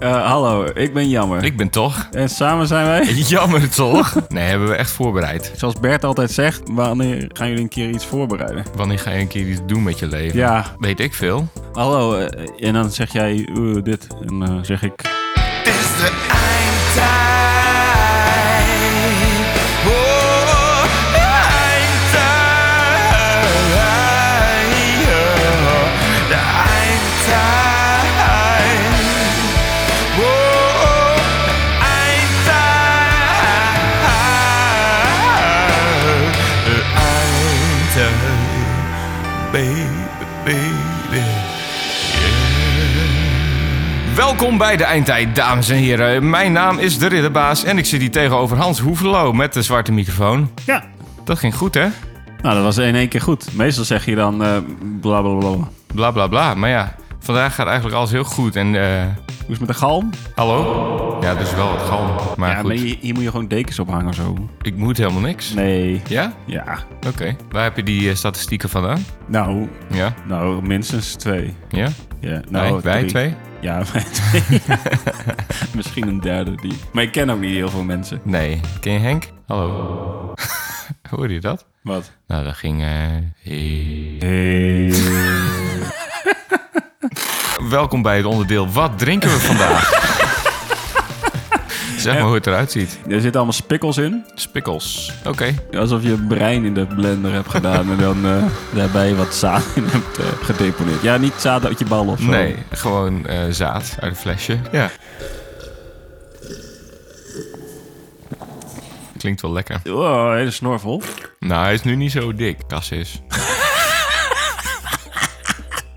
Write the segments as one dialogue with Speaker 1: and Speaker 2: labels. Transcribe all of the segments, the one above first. Speaker 1: Eh, hallo, ik ben Jammer.
Speaker 2: Ik ben toch?
Speaker 1: En samen zijn wij,
Speaker 2: Jammer toch? Nee, hebben we echt voorbereid.
Speaker 1: zoals Bert altijd zegt, wanneer gaan jullie een keer iets voorbereiden?
Speaker 2: Wanneer ga je een keer iets doen met je leven?
Speaker 1: Ja,
Speaker 2: Weet ik veel.
Speaker 1: hallo. eh, en dan zeg jij eh, dit. En dan zeg ik.
Speaker 2: Het is de eindtijd. Oh, eindtijd. De eindtijd. Oh, eindtijd. De eindtijd. Baby, baby. Welkom bij de Eindtijd, dames en heren. Mijn naam is de Ridderbaas en ik zit hier tegenover Hans Hoevelo met de zwarte microfoon.
Speaker 1: Ja.
Speaker 2: Dat ging goed, hè?
Speaker 1: Nou, dat was in één keer goed. Meestal zeg je dan eh bla bla bla. Hoe
Speaker 2: Bla bla bla. Maar ja, vandaag gaat eigenlijk alles heel goed. En eh.
Speaker 1: is het met de galm?
Speaker 2: hallo? Ja, dus wel wat galm. Maar
Speaker 1: ja,
Speaker 2: goed,
Speaker 1: maar hier, hier moet je gewoon dekens ophangen of zo.
Speaker 2: ik moet helemaal niks.
Speaker 1: Nee.
Speaker 2: Ja?
Speaker 1: Ja.
Speaker 2: Oké. Waar heb je die eh, statistieken vandaan?
Speaker 1: Nou,
Speaker 2: Ja?
Speaker 1: nou, minstens twee.
Speaker 2: Ja?
Speaker 1: Ja, nou,
Speaker 2: wij, wij
Speaker 1: drie.
Speaker 2: twee?
Speaker 1: Ja, wij twee. Misschien een derde die. Maar ik ken ook niet heel veel mensen.
Speaker 2: Nee. Ken je Henk? Hallo. Hoorde je dat?
Speaker 1: Wat?
Speaker 2: Nou, dat ging... eh, heel- Welkom bij het onderdeel Wat drinken we vandaag? zeg maar hoe het eruit ziet.
Speaker 1: Er zitten allemaal spikkels in.
Speaker 2: Spikkels. Oké.
Speaker 1: Alsof je brein in de blender hebt gedaan en dan eh, daarbij wat zaad in hebt eh, gedeponeerd. Ja, niet zaad uit je bal of zo.
Speaker 2: Nee, gewoon eh, zaad uit een flesje. Ja. Klinkt wel lekker.
Speaker 1: Oh, hele snorvel.
Speaker 2: Nou, hij is nu niet zo dik. Kas is.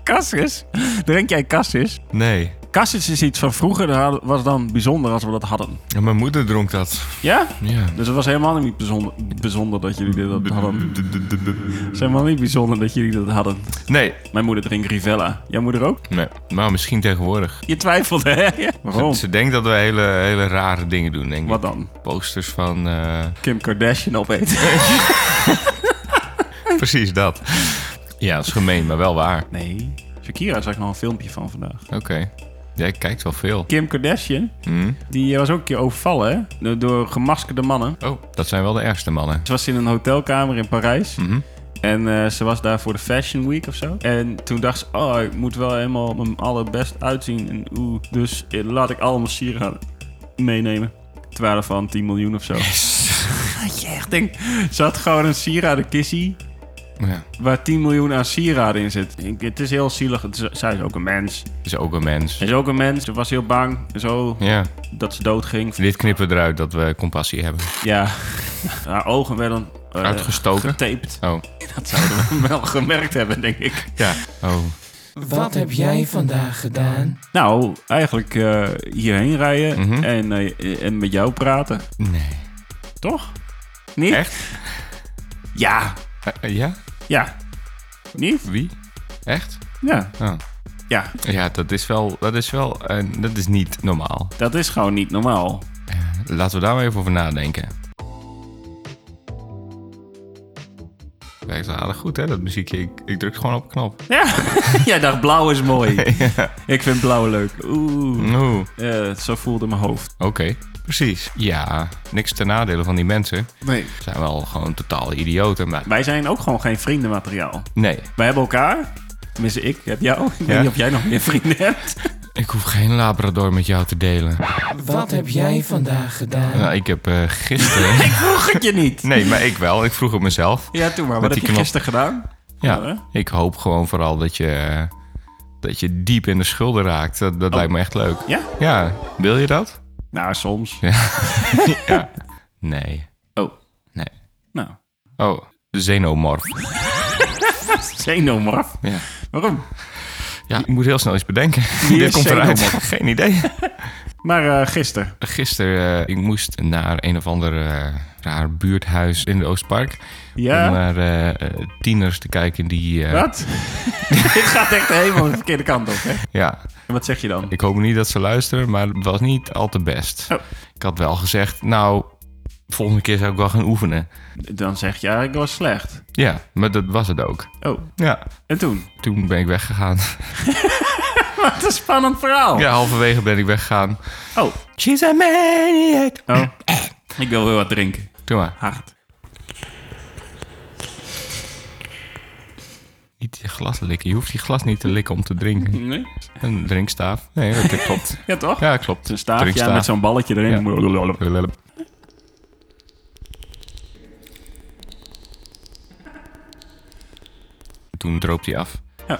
Speaker 1: Cassis? Drink jij cassis?
Speaker 2: Nee.
Speaker 1: Cassis is iets van vroeger, dat hadden- was dan bijzonder als we dat hadden.
Speaker 2: Ja, mijn moeder dronk dat.
Speaker 1: Ja?
Speaker 2: Ja.
Speaker 1: Dus het was helemaal niet bijzonder, bijzonder dat jullie dit hadden. Het is helemaal niet bijzonder dat jullie dat hadden.
Speaker 2: Nee.
Speaker 1: Mijn moeder drinkt Rivella. Jouw moeder ook?
Speaker 2: nee. Maar misschien tegenwoordig.
Speaker 1: Je twijfelde, hè? Waarom?
Speaker 2: Ze denkt dat we hele, hele rare dingen doen, denk ik.
Speaker 1: Wat dan?
Speaker 2: Posters van... eh,
Speaker 1: Kim Kardashian opeten?
Speaker 2: precies dat. Ja, dat is gemeen, maar wel waar.
Speaker 1: Nee. Shakira zag ik nog een filmpje van vandaag.
Speaker 2: Oké. Jij kijkt wel veel.
Speaker 1: Kim Kardashian,
Speaker 2: Mhm.
Speaker 1: die eh, was ook een keer overvallen hè? Door- door gemaskerde mannen.
Speaker 2: Oh, dat zijn wel de ergste mannen.
Speaker 1: Ze was in een hotelkamer in Parijs. En eh, ze was daar voor de Fashion Week of zo. En toen dacht ze, oh, ik moet wel helemaal mijn allerbest uitzien. En oeh, dus eh, laat ik allemaal sieraden meenemen. Ter waarde van 10 miljoen of zo. Dat je echt denkt, ze had gewoon een sieradenkissie
Speaker 2: Ja,
Speaker 1: waar 10 miljoen aan sieraden in zit. Ik- Het is heel zielig. Het is- Zij is ook een mens.
Speaker 2: is ook een mens.
Speaker 1: Ze is ook een mens. Ze was heel bang. Zo
Speaker 2: Ja,
Speaker 1: dat ze doodging.
Speaker 2: dit knippen we eruit dat we compassie hebben.
Speaker 1: Ja, haar ogen werden eh,
Speaker 2: Uitgestoken?
Speaker 1: getaped.
Speaker 2: Oh,
Speaker 1: Dat zouden we wel gemerkt hebben, denk ik.
Speaker 2: ja. Oh.
Speaker 3: Wat heb jij vandaag gedaan?
Speaker 1: Nou, eigenlijk eh, hierheen rijden
Speaker 2: Mhm.
Speaker 1: en, eh, en met jou praten.
Speaker 2: Nee.
Speaker 1: Toch? Niet?
Speaker 2: Echt?
Speaker 1: Ja.
Speaker 2: Eh, eh, ja?
Speaker 1: Ja. Niet?
Speaker 2: Wie? Echt?
Speaker 1: Ja.
Speaker 2: Oh.
Speaker 1: Ja,
Speaker 2: Ja, dat is wel... Dat is wel... eh, dat is niet normaal.
Speaker 1: dat is gewoon niet normaal.
Speaker 2: Laten we daar maar even over nadenken. Werkt wel aardig goed, hè, dat muziekje. Ik, ik druk gewoon op een knop.
Speaker 1: Ja. Jij dacht blauw is mooi. Ik vind blauw leuk. Oeh.
Speaker 2: Oeh.
Speaker 1: Eh, zo voelde mijn hoofd.
Speaker 2: Oké. Precies. Ja, niks ten nadele van die mensen.
Speaker 1: Nee.
Speaker 2: Ze zijn wel gewoon totaal idioten, maar...
Speaker 1: Wij zijn ook gewoon geen vriendenmateriaal.
Speaker 2: Nee,
Speaker 1: Wij hebben elkaar. Tenminste, ik heb jou. Ik weet
Speaker 2: Ja.
Speaker 1: niet of jij nog meer vrienden hebt.
Speaker 2: Ik hoef geen Labrador met jou te delen.
Speaker 3: Wat heb jij vandaag gedaan?
Speaker 2: Nou, ik heb eh, gisteren.
Speaker 1: Ik vroeg het je niet.
Speaker 2: nee, maar ik wel. Ik vroeg het mezelf.
Speaker 1: Ja, toen maar. Wat
Speaker 2: Met
Speaker 1: heb je
Speaker 2: die knop.
Speaker 1: gisteren gedaan?
Speaker 2: Ja,
Speaker 1: Oh, hè?
Speaker 2: ik hoop gewoon vooral dat je, dat je diep in de schulden raakt. Dat, dat lijkt me echt leuk.
Speaker 1: Oh. Ja?
Speaker 2: Ja, wil je dat?
Speaker 1: Nou, soms.
Speaker 2: ja. Nee.
Speaker 1: Oh,
Speaker 2: Nee.
Speaker 1: nou.
Speaker 2: Oh, xenomorf.
Speaker 1: Xenomorf.
Speaker 2: Ja.
Speaker 1: Waarom?
Speaker 2: ja, ik moet heel snel iets bedenken.
Speaker 1: Wie
Speaker 2: Dit
Speaker 1: is
Speaker 2: komt eruit.
Speaker 1: xenomorf?
Speaker 2: Geen idee.
Speaker 1: Maar eh, gisteren.
Speaker 2: Gisteren, eh, ik moest naar een of ander eh, raar buurthuis in het Oostpark. Om
Speaker 1: Ja.
Speaker 2: naar eh, eh, tieners te kijken die... eh,
Speaker 1: Wat? Dit gaat echt helemaal de verkeerde kant op, hè?
Speaker 2: Ja,
Speaker 1: En wat zeg je dan?
Speaker 2: Ik hoop niet dat ze luisteren, maar het was niet al te best.
Speaker 1: Oh.
Speaker 2: Ik had wel gezegd, nou, volgende keer zou ik wel gaan oefenen.
Speaker 1: Dan zeg je, ja, ik was slecht.
Speaker 2: Ja, maar dat was het ook.
Speaker 1: Oh,
Speaker 2: Ja,
Speaker 1: en toen?
Speaker 2: toen ben ik weggegaan.
Speaker 1: Wat een spannend verhaal.
Speaker 2: Ja, halverwege ben ik weggegaan.
Speaker 1: Oh,
Speaker 2: She's a maniac.
Speaker 1: oh. ik wil weer wat drinken.
Speaker 2: Doe maar.
Speaker 1: Hard.
Speaker 2: Niet je glas likken. Je hoeft je glas niet te likken om te drinken.
Speaker 1: Nee?
Speaker 2: Een drinkstaaf. Nee, dat klopt.
Speaker 1: Ja, toch?
Speaker 2: Ja, klopt.
Speaker 1: Een staafje ja, met zo'n balletje erin.
Speaker 2: Toen droop hij af.
Speaker 1: Ja.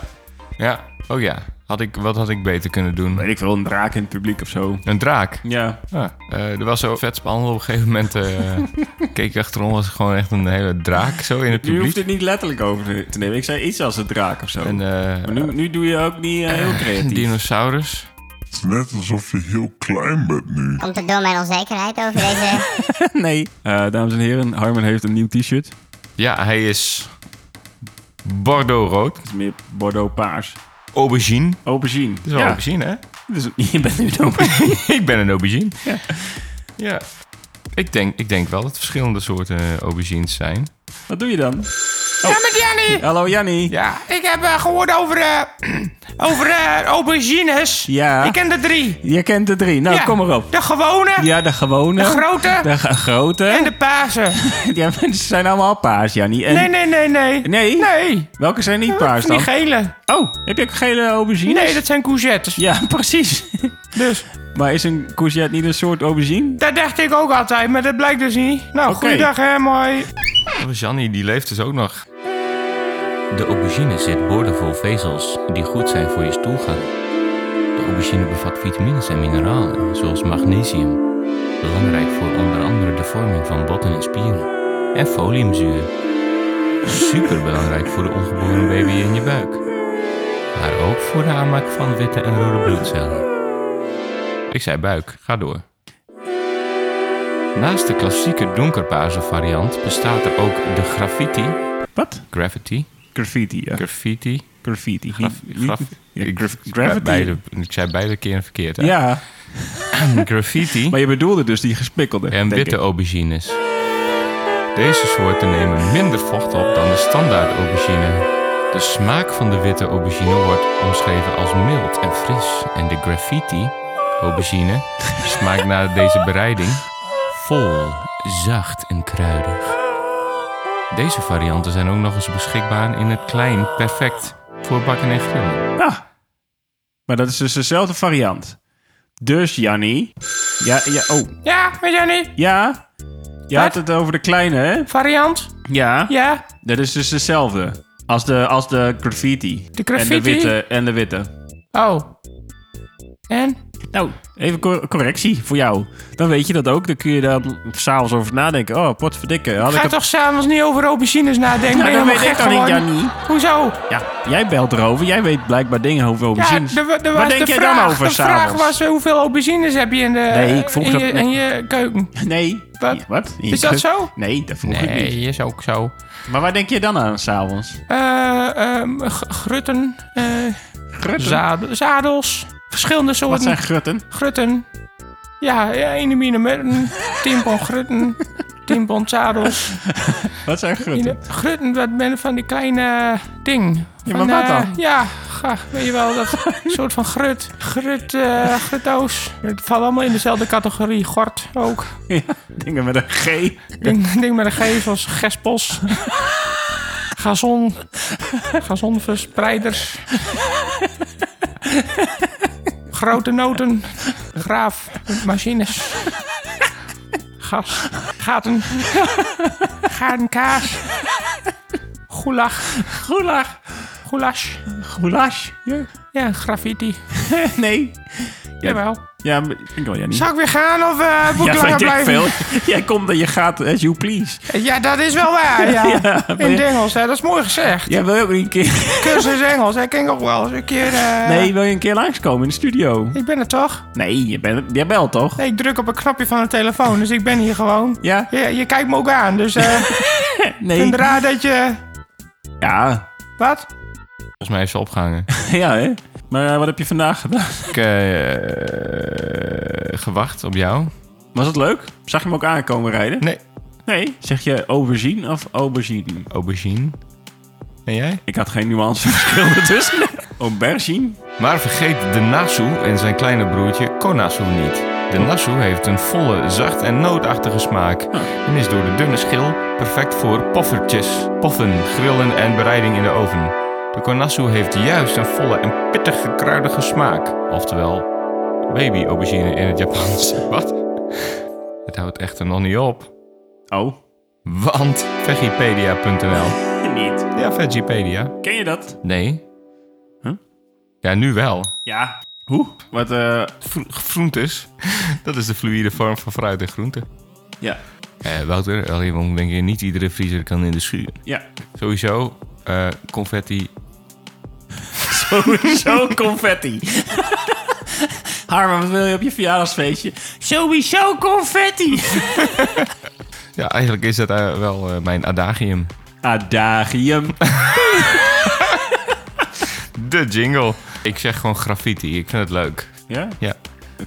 Speaker 2: Ja, oh ja. Had ik, wat had ik beter kunnen doen?
Speaker 1: Weet ik veel, een draak in het publiek of zo.
Speaker 2: Een draak.
Speaker 1: Ja,
Speaker 2: Ja, eh, er was zo vet spannend. Op een gegeven moment eh, keek ik achterom. was er gewoon echt een hele draak zo in het
Speaker 1: je hoeft
Speaker 2: publiek.
Speaker 1: het niet letterlijk over te- te nemen. Ik zei iets als een draak of zo.
Speaker 2: En eh,
Speaker 1: maar nu, nu doe je ook niet eh, heel
Speaker 2: een
Speaker 1: creatief.
Speaker 2: dinosaurus.
Speaker 4: Het is net alsof je heel klein bent nu.
Speaker 5: Komt het door mijn onzekerheid over deze...
Speaker 1: nee. Eh, dames en heren, Harmon heeft een nieuw t-shirt. Het
Speaker 2: Ja, hij is bordeaux rood.
Speaker 1: is meer bordeaux paars.
Speaker 2: Aubergine. Het
Speaker 1: Aubergine.
Speaker 2: is wel
Speaker 1: ja.
Speaker 2: aubergine, hè?
Speaker 1: Dus, je bent nu een aubergine.
Speaker 2: ik ben een aubergine.
Speaker 1: Ja.
Speaker 2: ja. Ik denk, ik denk wel dat er verschillende soorten eh, aubergines zijn.
Speaker 1: Wat doe je dan? Oh.
Speaker 2: Ja, met Jannie!
Speaker 1: Hallo Jannie.
Speaker 2: Ja, ik heb eh, gehoord over, eh, over eh, aubergines.
Speaker 1: Ja.
Speaker 2: Ik ken de drie.
Speaker 1: Je kent de drie. Nou,
Speaker 2: Ja.
Speaker 1: kom maar op.
Speaker 2: De gewone,
Speaker 1: Ja, de gewone.
Speaker 2: de grote
Speaker 1: De ge- grote.
Speaker 2: en de paarse.
Speaker 1: Ja, ze zijn allemaal paars, Jannie. En...
Speaker 2: Nee, nee, nee, nee.
Speaker 1: Nee?
Speaker 2: Nee.
Speaker 1: Welke zijn niet paars
Speaker 2: Van
Speaker 1: dan?
Speaker 2: die gele.
Speaker 1: Oh, heb je ook gele aubergines?
Speaker 2: Nee, dat zijn courgettes.
Speaker 1: Ja, precies.
Speaker 2: Dus
Speaker 1: Maar is een courgette niet een soort aubergine?
Speaker 2: dat dacht ik ook altijd, maar dat blijkt dus niet. Nou,
Speaker 1: Oké.
Speaker 2: goeiedag hè, mooi. Jannie, die leeft dus ook nog.
Speaker 6: De aubergine zit boordevol vezels die goed zijn voor je stoelgang. De aubergine bevat vitamines en mineralen, zoals magnesium. Belangrijk voor onder andere de vorming van botten en spieren. En foliumzuur. Superbelangrijk voor de ongeboren baby in je buik. Maar ook voor de aanmaak van witte en rode bloedcellen.
Speaker 2: Ik zei buik, ga door. Naast de klassieke donkerpaarse variant bestaat er ook de graffiti.
Speaker 1: Wat?
Speaker 2: Graffiti?
Speaker 1: Graffiti, ja.
Speaker 2: Graffiti?
Speaker 1: Graffiti.
Speaker 2: Graf,
Speaker 1: Niet-
Speaker 2: graf,
Speaker 1: Ja,
Speaker 2: ik-
Speaker 1: graf-
Speaker 2: ik-
Speaker 1: graffiti.
Speaker 2: Beide, ik zei beide keren verkeerd. Hè?
Speaker 1: Ja,
Speaker 2: Graffiti
Speaker 1: maar je bedoelde dus die gespikkelde.
Speaker 2: en
Speaker 1: denk
Speaker 2: witte
Speaker 1: ik.
Speaker 2: aubergines. Deze soorten nemen minder vocht op dan de standaard aubergine. De smaak van de witte aubergine wordt omschreven als mild en fris. En de graffiti aubergine smaakt na deze bereiding
Speaker 6: Vol, zacht en kruidig.
Speaker 2: Deze varianten zijn ook nog eens beschikbaar in het klein, perfect voor bakken en grillen.
Speaker 1: Ah. Maar dat is dus dezelfde variant. Dus, Jannie. Ja, ja, oh.
Speaker 2: Ja, weet jij niet?
Speaker 1: Ja? Je had het over de kleine, hè?
Speaker 2: Variant?
Speaker 1: Ja.
Speaker 2: Ja.
Speaker 1: Dat is dus dezelfde. Als de, als de graffiti.
Speaker 2: De graffiti?
Speaker 1: En de witte. En de witte.
Speaker 2: Oh. En?
Speaker 1: Nou, even cor- correctie voor jou. Dan weet je dat ook. Dan kun je daar s'avonds over nadenken. Oh, potverdikke. Had
Speaker 2: Ga
Speaker 1: ik
Speaker 2: toch s'avonds niet over aubergines nadenken?
Speaker 1: Nou,
Speaker 2: ben je
Speaker 1: dat
Speaker 2: helemaal
Speaker 1: weet ik
Speaker 2: gek
Speaker 1: dan niet,
Speaker 2: geworden?
Speaker 1: Jannie.
Speaker 2: Hoezo?
Speaker 1: Ja, jij belt erover. Jij weet blijkbaar dingen over
Speaker 2: Ja,
Speaker 1: aubergines.
Speaker 2: de, de,
Speaker 1: Waar
Speaker 2: was
Speaker 1: denk
Speaker 2: de
Speaker 1: jij
Speaker 2: vraag,
Speaker 1: dan over
Speaker 2: De vraag
Speaker 1: s'avonds?
Speaker 2: was eh, hoeveel aubergines heb je in, de,
Speaker 1: Nee, ik vroeg
Speaker 2: in,
Speaker 1: dat
Speaker 2: je,
Speaker 1: net.
Speaker 2: in je keuken?
Speaker 1: Nee.
Speaker 2: Wat?
Speaker 1: Ja, Wat?
Speaker 2: Is dat zo?
Speaker 1: Nee, dat vroeg ik niet.
Speaker 2: is ook zo.
Speaker 1: Maar waar denk je dan aan s'avonds?
Speaker 2: Eh, ehm, g- grutten,
Speaker 1: Hm.
Speaker 2: eh, zadel- zadels, verschillende
Speaker 1: Wat
Speaker 2: soorten.
Speaker 1: zijn grutten?
Speaker 2: Grutten. Ja, ja enemine merten. Timpon grutten. Timpon zadels.
Speaker 1: Wat zijn grutten?
Speaker 2: Grutten, dat ben van die kleine ding.
Speaker 1: Ja,
Speaker 2: Van,
Speaker 1: maar wat
Speaker 2: eh,
Speaker 1: dan?
Speaker 2: ja, ga, weet je wel, dat soort van grut. Grut, eh gruttoos. Het valt allemaal in dezelfde categorie. Gort ook.
Speaker 1: Ja, dingen met een G.
Speaker 2: Ding, ding met een G zoals gespos. Gazon. Gazonverspreiders. Grote noten. Graafmachines. Gas. Gaten. Gatenkaas. Goelag. Goelag. Goulash.
Speaker 1: Goulash. Ja.
Speaker 2: Ja, graffiti.
Speaker 1: Nee.
Speaker 2: Jawel.
Speaker 1: Ja, maar ik wil jij niet.
Speaker 2: Zou ik weer gaan of eh moet ik
Speaker 1: ja,
Speaker 2: langer
Speaker 1: weet ik
Speaker 2: blijven?
Speaker 1: veel. Jij komt en je gaat as you please.
Speaker 2: Ja, dat is wel waar, ja.
Speaker 1: maar
Speaker 2: In
Speaker 1: ja-
Speaker 2: het Engels, hè. Dat is mooi gezegd.
Speaker 1: Jij wil ook niet een keer...
Speaker 2: cursus Engels. Ik ken ook wel eens een keer. eh,
Speaker 1: Nee, wil je een keer langskomen in de studio?
Speaker 2: Ik ben er toch?
Speaker 1: Nee, je bent, jij belt toch?
Speaker 2: Nee, ik druk op een knopje van de telefoon, dus ik ben hier gewoon.
Speaker 1: Ja?
Speaker 2: Je, je kijkt me ook aan, dus eh, ik
Speaker 1: Nee.
Speaker 2: vind het raar dat je.
Speaker 1: Ja.
Speaker 2: Wat?
Speaker 6: Volgens mij is ze opgehangen.
Speaker 1: Ja, hè? Maar eh, wat heb je vandaag gedaan?
Speaker 2: Ik eh, gewacht op jou.
Speaker 1: Was het leuk? Zag je hem ook aankomen rijden?
Speaker 2: Nee.
Speaker 1: Nee. Zeg je aubergine of aubergine?
Speaker 2: Aubergine. En jij?
Speaker 1: Ik had geen nuanceverschil ertussen. Aubergine?
Speaker 2: Maar vergeet de Nasu en zijn kleine broertje Konasu niet. De Nasu heeft een volle, zacht en nootachtige smaak. En is door de dunne schil perfect voor poffertjes, poffen, grillen en bereiding in de oven. De Konasu heeft juist een volle en pittige kruidige smaak. Oftewel, baby aubergine in het Japans. Wat? Het houdt echter nog niet op.
Speaker 1: Oh,
Speaker 2: Want vegipedia.nl
Speaker 1: niet.
Speaker 2: Ja, Vegipedia.
Speaker 1: Ken je dat?
Speaker 2: Nee.
Speaker 1: Huh?
Speaker 2: Ja, nu wel.
Speaker 1: Ja. Hoe? Wat, eh...
Speaker 2: Vro- Groentes. Dat is de fluïde vorm van fruit en groente.
Speaker 1: Ja.
Speaker 2: Eh, Wouter, alleen waarom denk je niet iedere vriezer kan in de schuur?
Speaker 1: Ja.
Speaker 2: Sowieso, eh, confetti.
Speaker 1: Zo confetti. Harman, wat wil je op je verjaardagsfeestje? Sowieso confetti.
Speaker 2: Ja, eigenlijk is dat eh, wel eh, mijn adagium.
Speaker 1: Adagium.
Speaker 2: De jingle. Ik zeg gewoon graffiti, ik vind het leuk.
Speaker 1: Ja?
Speaker 2: Ja,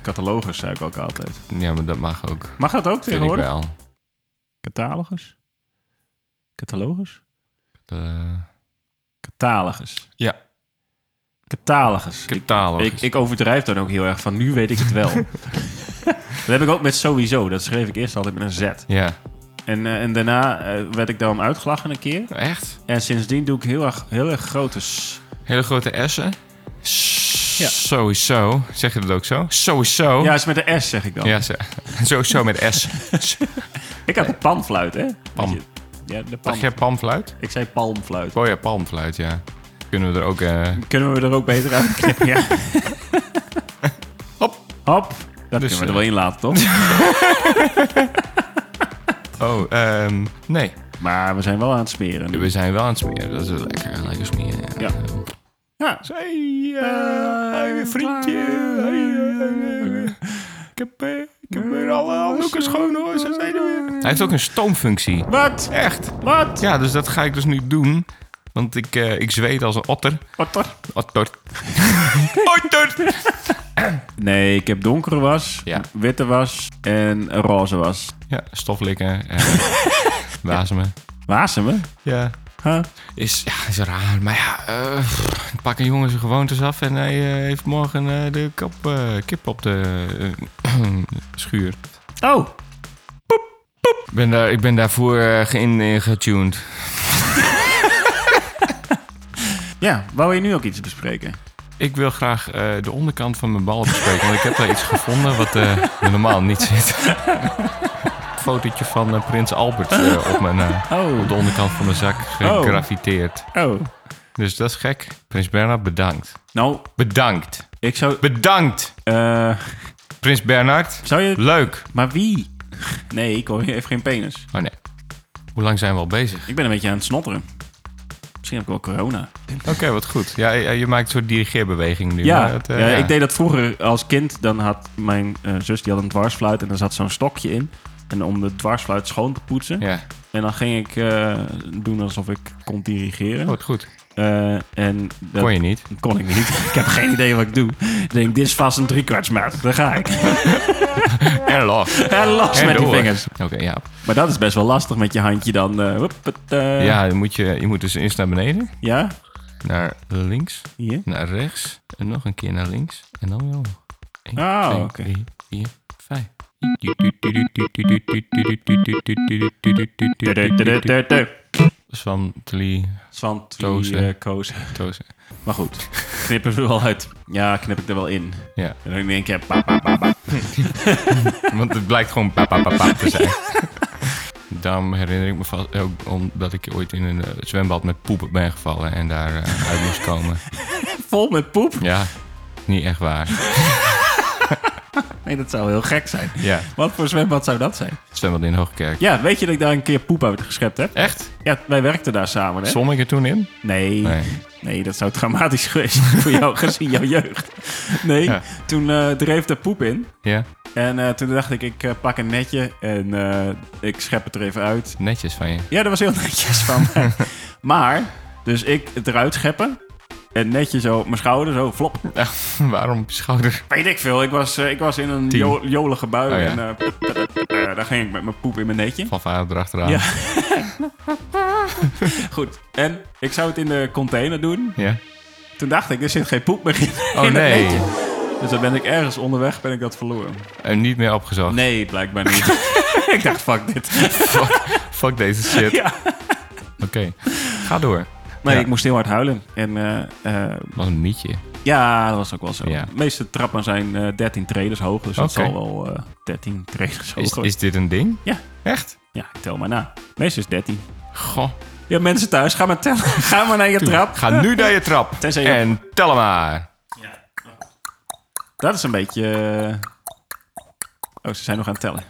Speaker 1: Catalogus zei ik ook altijd.
Speaker 2: ja maar dat mag ook.
Speaker 1: Mag dat ook
Speaker 2: Vind ik
Speaker 1: tegenwoordig?
Speaker 2: wel.
Speaker 1: Catalogus? Catalogus?
Speaker 2: Eh,
Speaker 1: Catalogus.
Speaker 2: ja,
Speaker 1: Catalogus.
Speaker 2: catalogus.
Speaker 1: Ik, ik overdrijf dan ook heel erg van, nu weet ik het wel. dat heb ik ook met sowieso. Dat schreef ik eerst altijd met een Z.
Speaker 2: Ja,
Speaker 1: En, eh, en daarna eh, werd ik daarom uitgelachen een keer.
Speaker 2: echt?
Speaker 1: En sindsdien doe ik heel erg, heel erg grote... s-
Speaker 2: Hele grote S'en.
Speaker 1: Ja.
Speaker 2: Sowieso. Zeg je dat ook zo? Sowieso.
Speaker 1: Ja, is met een S zeg ik dan.
Speaker 2: Oh. Ja, ze- sowieso met S.
Speaker 1: Ik had een panfluit, hè?
Speaker 2: Pam.
Speaker 1: Weet je- Ja, de
Speaker 2: Mag
Speaker 1: pan.
Speaker 2: jij palmfluit?
Speaker 1: Ik zei palmfluit.
Speaker 2: Oh ja, palmfluit, ja. Kunnen we er ook... eh
Speaker 1: Kunnen we er ook beter uit knippen? Ja.
Speaker 2: Hop.
Speaker 1: Hop. Dat kunnen we
Speaker 2: Dus,
Speaker 1: er
Speaker 2: eh,
Speaker 1: wel in laten, toch?
Speaker 2: Oh, ehm, nee.
Speaker 1: maar we zijn wel aan het smeren. nu.
Speaker 2: We zijn wel aan het smeren. Dat is wel lekker. Lekker smeren.
Speaker 1: Ja. Ja.
Speaker 2: Hey, eh, hey, vriendje. Ik heb, alle handdoeken schoon hoor. Ze zijn er weer. Hij heeft ook een stoomfunctie.
Speaker 1: Wat?
Speaker 2: Echt.
Speaker 1: Wat?
Speaker 2: Ja, dus dat ga ik dus nu doen. Want ik, eh, ik zweet als een otter.
Speaker 1: Wat toch?
Speaker 2: Otter. otter.
Speaker 1: Nee, ik heb donkere was,
Speaker 2: Ja.
Speaker 1: witte was en roze was.
Speaker 2: Ja, stoflikken. en wasemen.
Speaker 1: Wasemen?
Speaker 2: Ja.
Speaker 1: Huh?
Speaker 2: Is, ja, is raar. Maar ja, eh, pff, pakken jongens zijn gewoontes af en hij eh, heeft morgen eh, de kap, eh, kip op de eh, schuur.
Speaker 1: Oh,
Speaker 2: Ik ben, daar, ik ben daarvoor eh, geïn- eh, getuned.
Speaker 1: ja. Wou je nu ook iets bespreken?
Speaker 2: Ik wil graag eh, de onderkant van mijn bal bespreken, want ik heb daar iets gevonden wat eh, er normaal niet zit. Een fotootje van eh, Prins Albert eh, op, mijn, eh, op
Speaker 1: Oh.
Speaker 2: de onderkant van mijn zak gegraffiteerd.
Speaker 1: Oh.
Speaker 2: Dus dat is gek. Prins Bernard, bedankt.
Speaker 1: Nou,
Speaker 2: Bedankt.
Speaker 1: ik zou...
Speaker 2: Bedankt,
Speaker 1: eh,
Speaker 2: Prins Bernard.
Speaker 1: zou je...
Speaker 2: Leuk.
Speaker 1: Maar wie? Nee, ik hoor- hij heeft geen penis.
Speaker 2: Oh nee. Hoe lang zijn we al bezig?
Speaker 1: Ik ben een beetje aan het snotteren. Misschien heb ik wel corona.
Speaker 2: Oké, wat goed. Ja, je, je maakt een soort dirigeerbeweging nu.
Speaker 1: Ja,
Speaker 2: maar dat, eh,
Speaker 1: ja,
Speaker 2: ja.
Speaker 1: ik deed dat vroeger als kind. Dan had mijn eh, zus die had een dwarsfluit en daar zat zo'n stokje in. En om de dwarsfluit schoon te poetsen.
Speaker 2: Ja, oh,
Speaker 1: En dan ging ik eh, doen alsof ik kon dirigeren.
Speaker 2: oh, wat goed.
Speaker 1: Eh, en dat
Speaker 2: Kon je niet.
Speaker 1: kon ik niet. ik heb geen idee wat ik doe. Ik denk, dit is vast een driekwartsmaat. Daar ga ik.
Speaker 2: En los.
Speaker 1: en los
Speaker 2: En
Speaker 1: met die
Speaker 2: door.
Speaker 1: vingers.
Speaker 2: Oké, ja.
Speaker 1: Maar dat is best wel lastig met je handje dan. eh, hup, het, eh,
Speaker 2: Ja, dan moet je, je moet dus eerst naar beneden.
Speaker 1: ja?
Speaker 2: Naar links.
Speaker 1: Hier?
Speaker 2: Naar rechts. En nog een keer naar links. En dan weer omhoog. 1,
Speaker 1: Oh,
Speaker 2: 2,
Speaker 1: oké.
Speaker 2: 3, 4, 5.
Speaker 1: Tudu, tudu, tudu, tudu.
Speaker 2: Van Tli
Speaker 1: Zwant,
Speaker 2: Tozen.
Speaker 1: eh, kozen.
Speaker 2: Tozen.
Speaker 1: Maar goed, knippen we er wel uit. Ja, knip ik er wel in.
Speaker 2: Ja,
Speaker 1: En dan denk ik, pa, pa, pa, pa.
Speaker 2: want het blijkt gewoon pa, pa, pa, pa te zijn. Daarom herinner ik me vast ook omdat ik ooit in een eh, zwembad met poep ben gevallen en daar eh, uit moest komen.
Speaker 1: vol met poep.
Speaker 2: Ja, niet echt waar.
Speaker 1: Nee, dat zou heel gek zijn.
Speaker 2: Ja,
Speaker 1: Wat voor zwembad zou dat zijn?
Speaker 2: het zwembad in Hoogkerk.
Speaker 1: Ja, weet je dat ik daar een keer poep uit geschept heb?
Speaker 2: Echt?
Speaker 1: Ja, wij werkten daar samen, hè?
Speaker 2: Zwom ik er toen in?
Speaker 1: Nee. nee.
Speaker 2: Nee.
Speaker 1: dat zou traumatisch geweest zijn voor jou, gezien jouw jeugd. Nee,
Speaker 2: Ja.
Speaker 1: toen eh dreef de poep in.
Speaker 2: Ja,
Speaker 1: En eh, toen dacht ik, ik eh, pak een netje en eh, ik schep het er even uit.
Speaker 2: netjes van je.
Speaker 1: Ja, dat was heel netjes van mij. Maar, dus ik het eruit scheppen. En netje zo op mijn schouder, zo flop.
Speaker 2: Ja, waarom op je schouder?
Speaker 1: Weet ik veel, ik was, eh, ik was in een
Speaker 2: Tien.
Speaker 1: jo- jolige bui.
Speaker 2: Oh, ja.
Speaker 1: En eh, daar ging ik met mijn poep in mijn netje.
Speaker 2: Van vader erachteraan.
Speaker 1: Ja. Goed, en ik zou het in de container doen.
Speaker 2: ja.
Speaker 1: Toen dacht ik, er zit geen poep meer in. in
Speaker 2: Oh
Speaker 1: het
Speaker 2: nee.
Speaker 1: netje. Dus dan ben ik ergens onderweg, ben ik dat verloren.
Speaker 2: En niet meer opgezocht.
Speaker 1: Nee, blijkbaar niet. ik dacht, fuck dit.
Speaker 2: Fuck deze shit.
Speaker 1: Ja.
Speaker 2: Oké, ga door.
Speaker 1: Nee,
Speaker 2: Ja.
Speaker 1: ik moest heel hard huilen. En eh, eh,
Speaker 2: Dat was een mietje.
Speaker 1: ja, dat was ook wel zo.
Speaker 2: Ja.
Speaker 1: De meeste trappen zijn eh 13 traders hoog, dus dat
Speaker 2: Oké.
Speaker 1: zal wel eh, 13 traders hoog
Speaker 2: Is,
Speaker 1: zijn.
Speaker 2: is dit een ding?
Speaker 1: Ja.
Speaker 2: Echt?
Speaker 1: Ja, ik tel maar na. Meestal is 13.
Speaker 2: Goh.
Speaker 1: Ja, mensen thuis, ga maar tellen. ga maar naar je trap.
Speaker 2: Ga nu naar je trap.
Speaker 1: Tenzij je-
Speaker 2: En tel hem maar.
Speaker 1: Dat is een beetje... eh, Oh, ze zijn nog aan het tellen.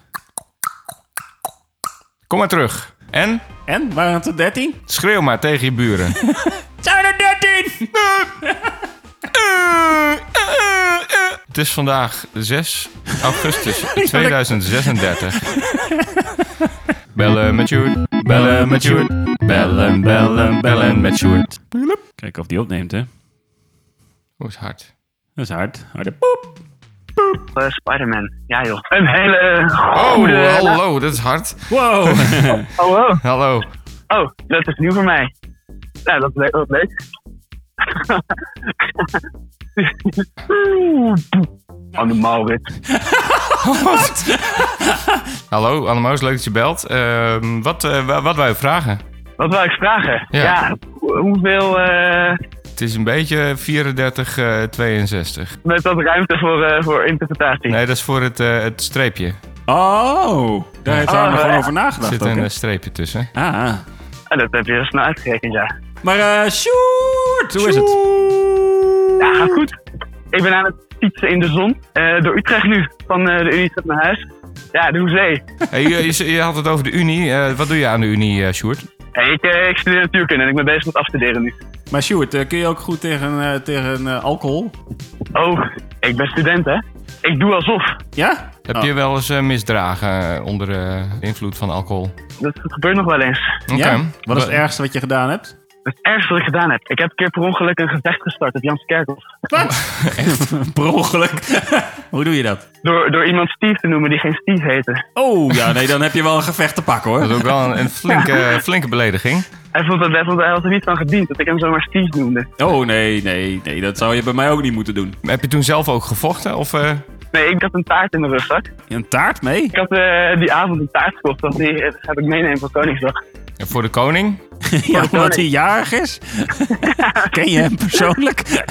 Speaker 2: Kom maar terug. En
Speaker 1: En, waren het er 13?
Speaker 2: schreeuw maar tegen je buren.
Speaker 1: Zijn er 13?
Speaker 2: Het is vandaag 6 augustus 2036. Bellen met Sjoerd. Bellen met Sjoerd. Bellen, bellen, bellen met Sjoerd.
Speaker 1: Kijken of die opneemt, hè.
Speaker 2: Hoe Oh, is hard?
Speaker 1: Dat is hard. Harde poep.
Speaker 7: Eh, Spider-Man. Ja joh. Een hele goede...
Speaker 2: Oh, hallo, dat is hard.
Speaker 1: Wow.
Speaker 7: Oh, oh,
Speaker 2: Hallo.
Speaker 7: oh, dat is nieuw voor mij. Nou, dat is leuk. Wat leuk. Anne Oh, Maurits.
Speaker 2: Hallo, Annemaus, leuk dat je belt. Ehm, wat, eh, wa- wat wou je vragen?
Speaker 7: Wat wou ik vragen?
Speaker 2: Ja.
Speaker 7: hoe- hoeveel... eh,
Speaker 2: Het is een beetje 34, eh, 62.
Speaker 7: met wat ruimte voor, eh, voor interpretatie.
Speaker 2: Nee, dat is voor het, eh, het streepje.
Speaker 1: Oh, daar heeft Arne
Speaker 7: Oh,
Speaker 1: gewoon
Speaker 7: ja.
Speaker 1: over
Speaker 2: Er
Speaker 1: nagedacht.
Speaker 2: Ah, zit
Speaker 1: ook,
Speaker 2: een
Speaker 1: hè?
Speaker 2: eh, streepje tussen.
Speaker 1: Ah.
Speaker 7: Ah, dat heb je heel snel uitgerekend, ja.
Speaker 1: Maar eh shoot, hoe is het?
Speaker 7: Ja, gaat goed. Ik ben aan het fietsen in de zon. eh, door Utrecht nu. Van eh, de Unie tot naar huis. Ja, de Hoezee.
Speaker 2: Hey, je, je- je had het over de Unie. Eh, wat doe je aan de Unie, eh, Sjoerd?
Speaker 7: Hey, ik, eh, ik studeer natuurkunde en ik ben bezig met afstuderen nu.
Speaker 1: Maar Sjoerd, eh, kun je ook goed tegen, eh, tegen eh, alcohol?
Speaker 7: Oh, ik ben student, hè? Ik doe alsof.
Speaker 1: Ja?
Speaker 2: Heb
Speaker 1: Oh.
Speaker 2: je wel eens eh, misdragen eh, onder eh, invloed van alcohol?
Speaker 7: Dat gebeurt nog wel eens.
Speaker 2: Oké.
Speaker 1: ja? Wat is het
Speaker 2: Wa-
Speaker 1: ergste wat je gedaan hebt?
Speaker 7: Het ergste wat ik gedaan heb. Ik heb een keer per ongeluk een gevecht gestart op Janskerkhof.
Speaker 1: Echt? per ongeluk. hoe doe je dat?
Speaker 7: Door, door iemand Steve te noemen die geen Steve heette.
Speaker 1: Oh, ja, nee, dan heb je wel een gevecht te pakken,
Speaker 2: Dat is
Speaker 1: hoor.
Speaker 2: ook wel een, een flinke, flinke belediging.
Speaker 7: Hij vond dat hij vond- hij had er niet van gediend dat ik hem zomaar Steve noemde.
Speaker 1: Oh, nee, nee, nee, dat zou je bij mij ook niet moeten doen.
Speaker 2: Heb je toen zelf ook gevochten? Of, eh,
Speaker 7: Nee, ik had een taart in mijn rugzak.
Speaker 1: Een taart mee?
Speaker 7: Ik had eh, die avond een taart gekocht. Dat, die, dat heb ik meenemen voor Koningsdag.
Speaker 2: voor de koning?
Speaker 1: Ja, omdat hij jarig is? Ken je hem persoonlijk?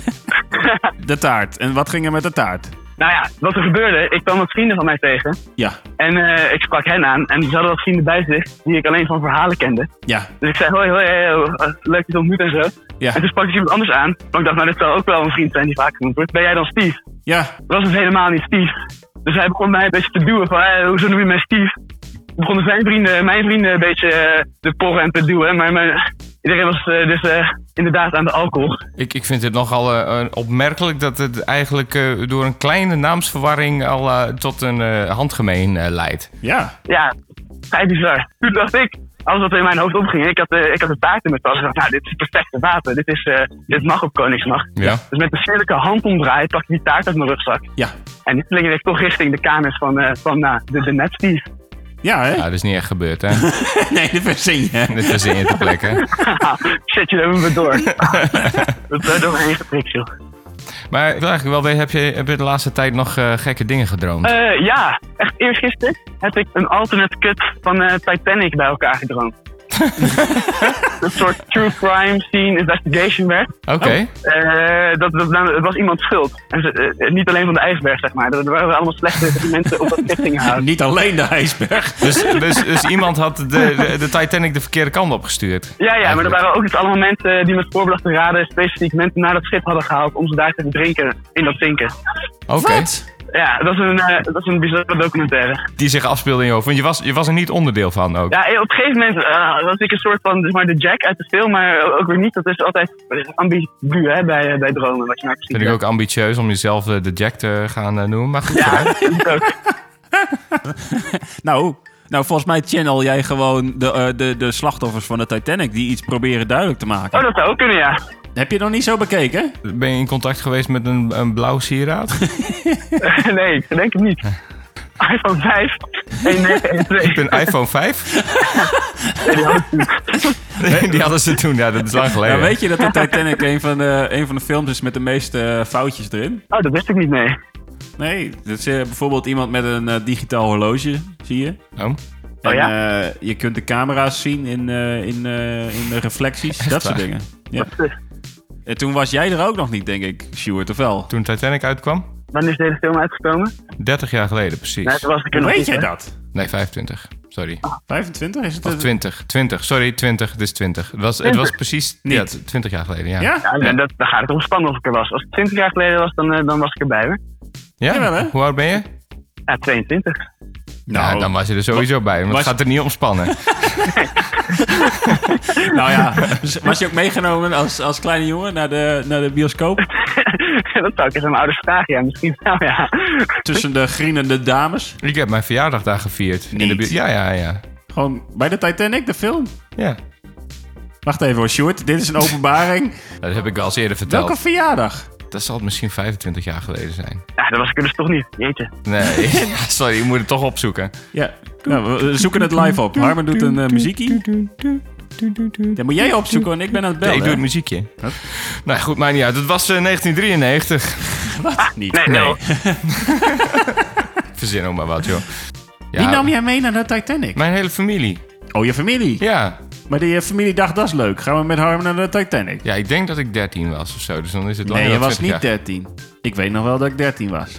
Speaker 1: de taart. En wat ging er met de taart?
Speaker 7: Nou ja, wat er gebeurde, ik kwam wat vrienden van mij tegen.
Speaker 1: Ja,
Speaker 7: En eh, ik sprak hen aan. En ze hadden wat vrienden bij zich die ik alleen van verhalen kende.
Speaker 1: ja,
Speaker 7: Dus ik zei, hoi, hoi, hoi, hoi, eh, leuk je te ontmoeten en zo.
Speaker 1: ja,
Speaker 7: En toen sprak ik iemand anders aan. Maar ik dacht, nou, dit zal ook wel een vriend zijn die vaak genoemd wordt. Ben jij dan Steve?
Speaker 1: ja.
Speaker 7: Dat was dus helemaal niet Steve. Dus hij begon mij een beetje te duwen van, hey, hoezo noem je mij Steve? Begonnen zijn vrienden, mijn vrienden een beetje eh, te porren en te duwen. Maar mijn, iedereen was eh, dus eh, inderdaad aan de alcohol.
Speaker 2: Ik, ik vind het nogal eh, eh, opmerkelijk dat het eigenlijk eh, door een kleine naamsverwarring al eh, tot een eh, handgemeen eh, leidt.
Speaker 1: Ja,
Speaker 7: Ja, vrij bizar. Toen dacht ik, alles wat er in mijn hoofd opging, ik had, eh, ik had de taart in mijn tas. Ik dacht, nou, dit is het perfecte wapen. Dit, is, eh, dit mag op Koningsnacht.
Speaker 2: Ja.
Speaker 7: Dus met een sterke hand omdraaien pak ik die taart uit mijn rugzak.
Speaker 1: ja.
Speaker 7: En die slingerde ik toch richting de kamers van, eh, van nou, de, de net Steve.
Speaker 1: Ja, hè?
Speaker 2: Ja, dat is niet echt gebeurd, hè?
Speaker 1: Nee, dat verzin je.
Speaker 2: Dit was in te plekken.
Speaker 7: Haha, shit, je hebben we door. dat is doorheen geprikt, joh.
Speaker 2: Maar ik wil eigenlijk wel weten, heb je, heb je de laatste tijd nog eh, gekke dingen gedroomd?
Speaker 7: Eh, ja, echt eergisteren heb ik een alternate cut van eh, Titanic bij elkaar gedroomd. een soort true crime scene investigation werd.
Speaker 2: Oké.
Speaker 7: Eh, dat, dat, nou, het was iemand schuld. En ze, eh, niet alleen van de ijsberg, zeg maar. Er waren allemaal slechte mensen op dat richting houden.
Speaker 1: Niet alleen de ijsberg.
Speaker 2: Dus, dus, dus iemand had de, de, de Titanic de verkeerde kant op gestuurd.
Speaker 7: Ja, ja, maar er
Speaker 2: Eigenlijk.
Speaker 7: waren ook dus allemaal mensen die met voorbedachte raden specifiek mensen naar dat schip hadden gehaald om ze daar te drinken in dat zinken.
Speaker 2: Oké.
Speaker 7: Ja, dat is een, eh, dat is een bizarre documentaire.
Speaker 2: Die zich afspeelde in je hoofd. Want je was, je was er niet onderdeel van ook.
Speaker 7: Ja, eh, op een gegeven moment eh, was ik een soort van zeg maar, de Jack uit de film, maar ook weer niet. Dat is altijd ambigu hè, bij, eh, bij dromen, wat je nou precies
Speaker 2: Vind ik ook ambitieus om jezelf eh, de Jack te gaan eh, noemen. Maar goed, vooruit.
Speaker 7: doet. Ook.
Speaker 1: Nou, nou, volgens mij channel jij gewoon de, eh, de, de slachtoffers van de Titanic die iets proberen duidelijk te maken.
Speaker 7: Oh, dat zou ook kunnen, ja.
Speaker 1: Heb je nog niet zo bekeken?
Speaker 2: ben je in contact geweest met een, een blauw sieraad?
Speaker 7: nee, ik denk het niet. iPhone 5 1912.
Speaker 2: Een iPhone 5? Nee, die hadden ze toen. Ja, dat is lang geleden.
Speaker 1: Nou, weet je dat de Titanic een van de, een van de films is met de meeste eh, foutjes erin?
Speaker 7: Oh, dat wist ik niet, nee.
Speaker 1: Nee, dat is eh, bijvoorbeeld iemand met een eh, digitaal horloge, zie je.
Speaker 2: Oh,
Speaker 7: Oh
Speaker 1: En,
Speaker 7: ja?
Speaker 1: eh, je kunt de camera's zien in, eh, in, eh, in de reflecties, dat soort
Speaker 2: waar?
Speaker 1: dingen. Ja.
Speaker 7: eh,
Speaker 1: En toen was jij er ook nog niet, denk ik, Stuart, of wel?
Speaker 2: toen Titanic uitkwam?
Speaker 7: Wanneer is deze film uitgekomen?
Speaker 2: 30 jaar geleden,
Speaker 7: Nee,
Speaker 2: precies.
Speaker 7: toen was Ah. ik er
Speaker 1: Hoe
Speaker 7: nog
Speaker 1: weet
Speaker 7: niet,
Speaker 1: jij
Speaker 7: hè.
Speaker 1: dat?
Speaker 2: Nee, 25. Sorry.
Speaker 1: 25 is het?
Speaker 7: eh,
Speaker 2: Of 20. 20. Sorry, 20. Het is 20. Het was, het was precies
Speaker 1: Niet.
Speaker 2: ja, 20 jaar geleden. Ja?
Speaker 1: Ja?
Speaker 7: Ja, dan, dat, dan gaat het om spannend of ik er was. Als het 20 jaar geleden was, dan, eh, dan was ik erbij hoor.
Speaker 2: Ja?
Speaker 1: Jawel, hè?
Speaker 2: Hoe oud ben je?
Speaker 7: Ja, 22.
Speaker 2: Nou, dan was je er sowieso bij. Want
Speaker 1: was-
Speaker 2: het gaat er niet om spannen.
Speaker 1: Nou ja, dus was je ook meegenomen als, als kleine jongen naar de, naar de bioscoop?
Speaker 7: dat zou ik eens aan mijn ouders vragen, ja, misschien wel, ja.
Speaker 1: Tussen de grienende dames?
Speaker 2: ik heb mijn verjaardag daar gevierd. In de
Speaker 1: Niet.
Speaker 2: bu- ja, ja, ja.
Speaker 1: Gewoon bij de Titanic, de film?
Speaker 2: Ja,
Speaker 1: Wacht even hoor, Stuart. Dit is een openbaring.
Speaker 2: dat heb ik al eens eerder verteld.
Speaker 1: Welke verjaardag?
Speaker 2: Dat zal het misschien 25 jaar geleden zijn.
Speaker 7: Ja, dat was ik er dus toch niet, jeetje.
Speaker 2: Nee, sorry, je moet het toch opzoeken.
Speaker 1: Ja, nou, we zoeken het live op. Harmen doet een eh, muziekje. Dat moet jij opzoeken, want ik ben aan het
Speaker 2: Nee,
Speaker 1: bellen.
Speaker 2: ik doe het muziekje. Nou goed, maakt niet uit. Het was eh, 1993.
Speaker 1: niet.
Speaker 7: Nee, nee.
Speaker 2: Verzin ook maar wat, joh. Ja,
Speaker 1: Wie nam jij mee naar de Titanic?
Speaker 2: Mijn hele familie.
Speaker 1: Oh, je familie.
Speaker 2: Ja.
Speaker 1: Maar die eh, familie dacht, dat is leuk. Gaan we met Harmen naar de Titanic?
Speaker 2: ja, ik denk dat ik 13 was of zo. Dus dan is het langer
Speaker 1: Nee, je
Speaker 2: dan
Speaker 1: was
Speaker 2: 20
Speaker 1: niet
Speaker 2: jaar.
Speaker 1: 13. Ik weet nog wel dat ik 13 was.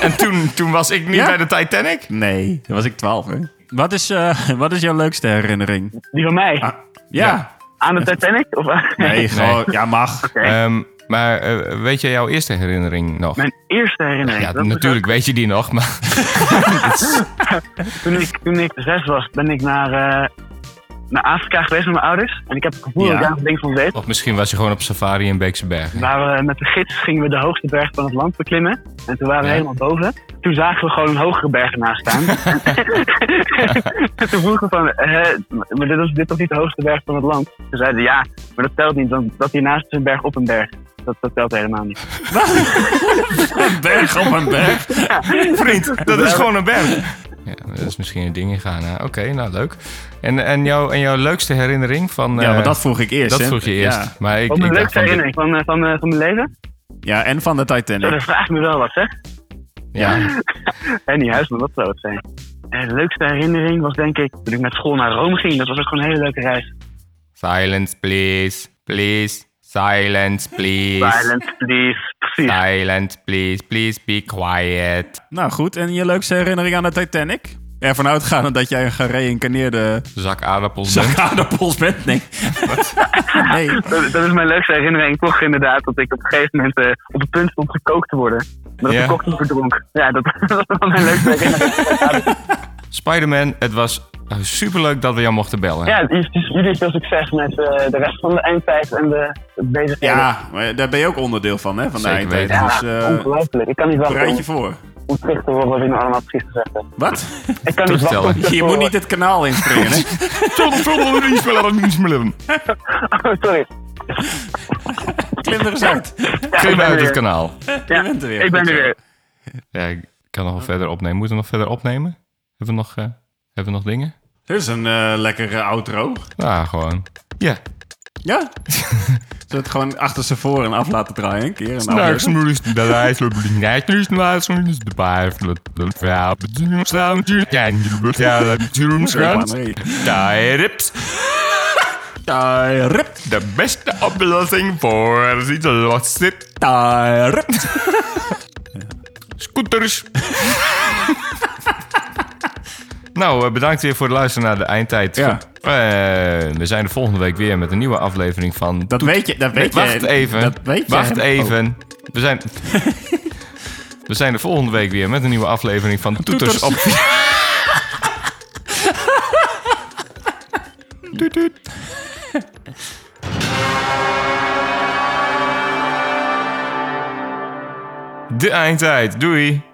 Speaker 2: en toen, toen was ik niet
Speaker 1: Ja?
Speaker 2: bij de Titanic.
Speaker 1: Nee, toen was ik 12. Hè? Wat, is, eh, wat is jouw leukste herinnering?
Speaker 7: Die van mij.
Speaker 1: Ah, ja.
Speaker 7: Aan de Titanic? Of, aan-
Speaker 1: Nee, gewoon. Ja, mag.
Speaker 2: Ehm, maar eh, weet jij jouw eerste herinnering nog?
Speaker 7: Mijn eerste herinnering.
Speaker 2: Ja,
Speaker 7: dat was dus
Speaker 2: natuurlijk weet je die nog, maar
Speaker 7: ook- Toen ik, toen ik zes was, ben ik naar, eh, naar Afrika geweest met mijn ouders. En ik heb het gevoel dat
Speaker 1: Ja.
Speaker 7: ik daar een ding van weet.
Speaker 2: of misschien was je gewoon op safari in Beekse Bergen.
Speaker 1: Nou,
Speaker 7: Waar we met de gids gingen we de hoogste berg van het land beklimmen. En toen waren we
Speaker 2: Ja.
Speaker 7: helemaal boven. Toen zagen we gewoon een hogere berg ernaast staan. en toen vroegen we van, eh, maar dit is dit toch niet de hoogste berg van het land? Ze zeiden ja, maar dat telt niet, want dat hiernaast is een berg op een berg. Dat, dat telt helemaal niet.
Speaker 1: Een berg op een berg.
Speaker 2: Vriend, dat is gewoon een berg. Ja, dat is misschien een ding gaan. hè. Oké, nou leuk. En, en, jouw, en jouw leukste herinnering van...
Speaker 1: Ja,
Speaker 2: eh,
Speaker 1: maar dat vroeg ik eerst.
Speaker 2: dat
Speaker 1: hè?
Speaker 2: vroeg je eerst.
Speaker 1: Ja.
Speaker 2: Maar ik,
Speaker 7: Wat mijn
Speaker 2: ik dacht van...
Speaker 7: leukste
Speaker 2: dit-
Speaker 7: herinnering van, eh, van, eh, van mijn leven?
Speaker 1: ja, en van de
Speaker 7: Ja,
Speaker 1: Titanic.
Speaker 7: dat vraagt me wel wat, hè?
Speaker 2: Ja,
Speaker 7: En die huis, maar wat zou het zijn? Eh, de leukste herinnering was denk ik toen ik met school naar Rome ging. Dat was ook gewoon een hele leuke reis.
Speaker 2: silence please, please, silence please.
Speaker 7: Silence, please. Precies.
Speaker 2: Silence please, please be quiet.
Speaker 1: Nou goed, en je leukste herinnering aan de Titanic? Ervan uitgaande dat jij een gereïncarneerde
Speaker 2: Zak aardappels. bent.
Speaker 1: zakaardappels bent? Nee. nee.
Speaker 7: Dat, dat is mijn leukste herinnering toch inderdaad. Dat ik op een gegeven moment eh, op het punt stond gekookt te worden. Maar dat
Speaker 2: Ja.
Speaker 7: ik de kok niet verdronk. Ja, dat, dat was wel mijn leukste herinnering.
Speaker 2: Spider-Man, het was eh, superleuk dat we jou mochten bellen.
Speaker 7: Ja, dus- dus jullie veel succes met eh, de rest van de eindtijd en de, de bezigheden.
Speaker 1: Ja, maar daar ben je ook onderdeel van, hè? Van de
Speaker 2: Zeker
Speaker 1: eindtijd.
Speaker 2: weten.
Speaker 1: Dus eh
Speaker 7: Ongelooflijk. Ik kan niet wachten om,
Speaker 1: bereid je voor.
Speaker 7: om terug te horen wat jullie allemaal precies gezegd hebben.
Speaker 1: Wat?
Speaker 7: Ik kan niet
Speaker 2: Terugtellen.
Speaker 7: wachten om terug te
Speaker 1: Je moet
Speaker 7: horen-
Speaker 1: niet het kanaal inspringen, hè?
Speaker 7: Oh, sorry.
Speaker 1: Klim er eens uit.
Speaker 7: Ja, ik
Speaker 2: Klim
Speaker 7: ben
Speaker 2: uit
Speaker 7: er
Speaker 2: het
Speaker 7: weer.
Speaker 2: kanaal.
Speaker 1: Je bent er weer.
Speaker 7: Ik ben er weer.
Speaker 2: Ja, ik kan nog wel verder opnemen. Moeten we nog verder opnemen? Hebben we nog, eh, hebben we nog dingen?
Speaker 1: Dit is een eh, lekkere outro.
Speaker 2: Ja, gewoon. Ja.
Speaker 7: Oh,
Speaker 1: Ja. Zullen we het gewoon achter ze voor en af laten draaien? Een keer en
Speaker 2: Straks
Speaker 1: afleggen?
Speaker 2: moest dus de lijst op de lijst, dus de lijst van de baas, dat de verhaal, de doen staan, de kijk, de verhaal, de doen staan.
Speaker 1: Nee.
Speaker 2: Die rips,
Speaker 1: Taai, rip,
Speaker 2: de beste oplossing voor iets wat zit.
Speaker 1: taai, rip.
Speaker 2: Scooters. Nou, eh, bedankt weer voor het luisteren naar de eindtijd.
Speaker 1: Ja.
Speaker 2: Goed. Eh, we zijn er volgende week weer met een nieuwe aflevering van
Speaker 1: Dat weet je, dat weet je.
Speaker 2: wacht even.
Speaker 1: Dat weet Oh. je.
Speaker 2: wacht even. We zijn. We zijn er volgende week weer met een nieuwe aflevering van Toeters, op. Toet, toet. De eindtijd. Doei.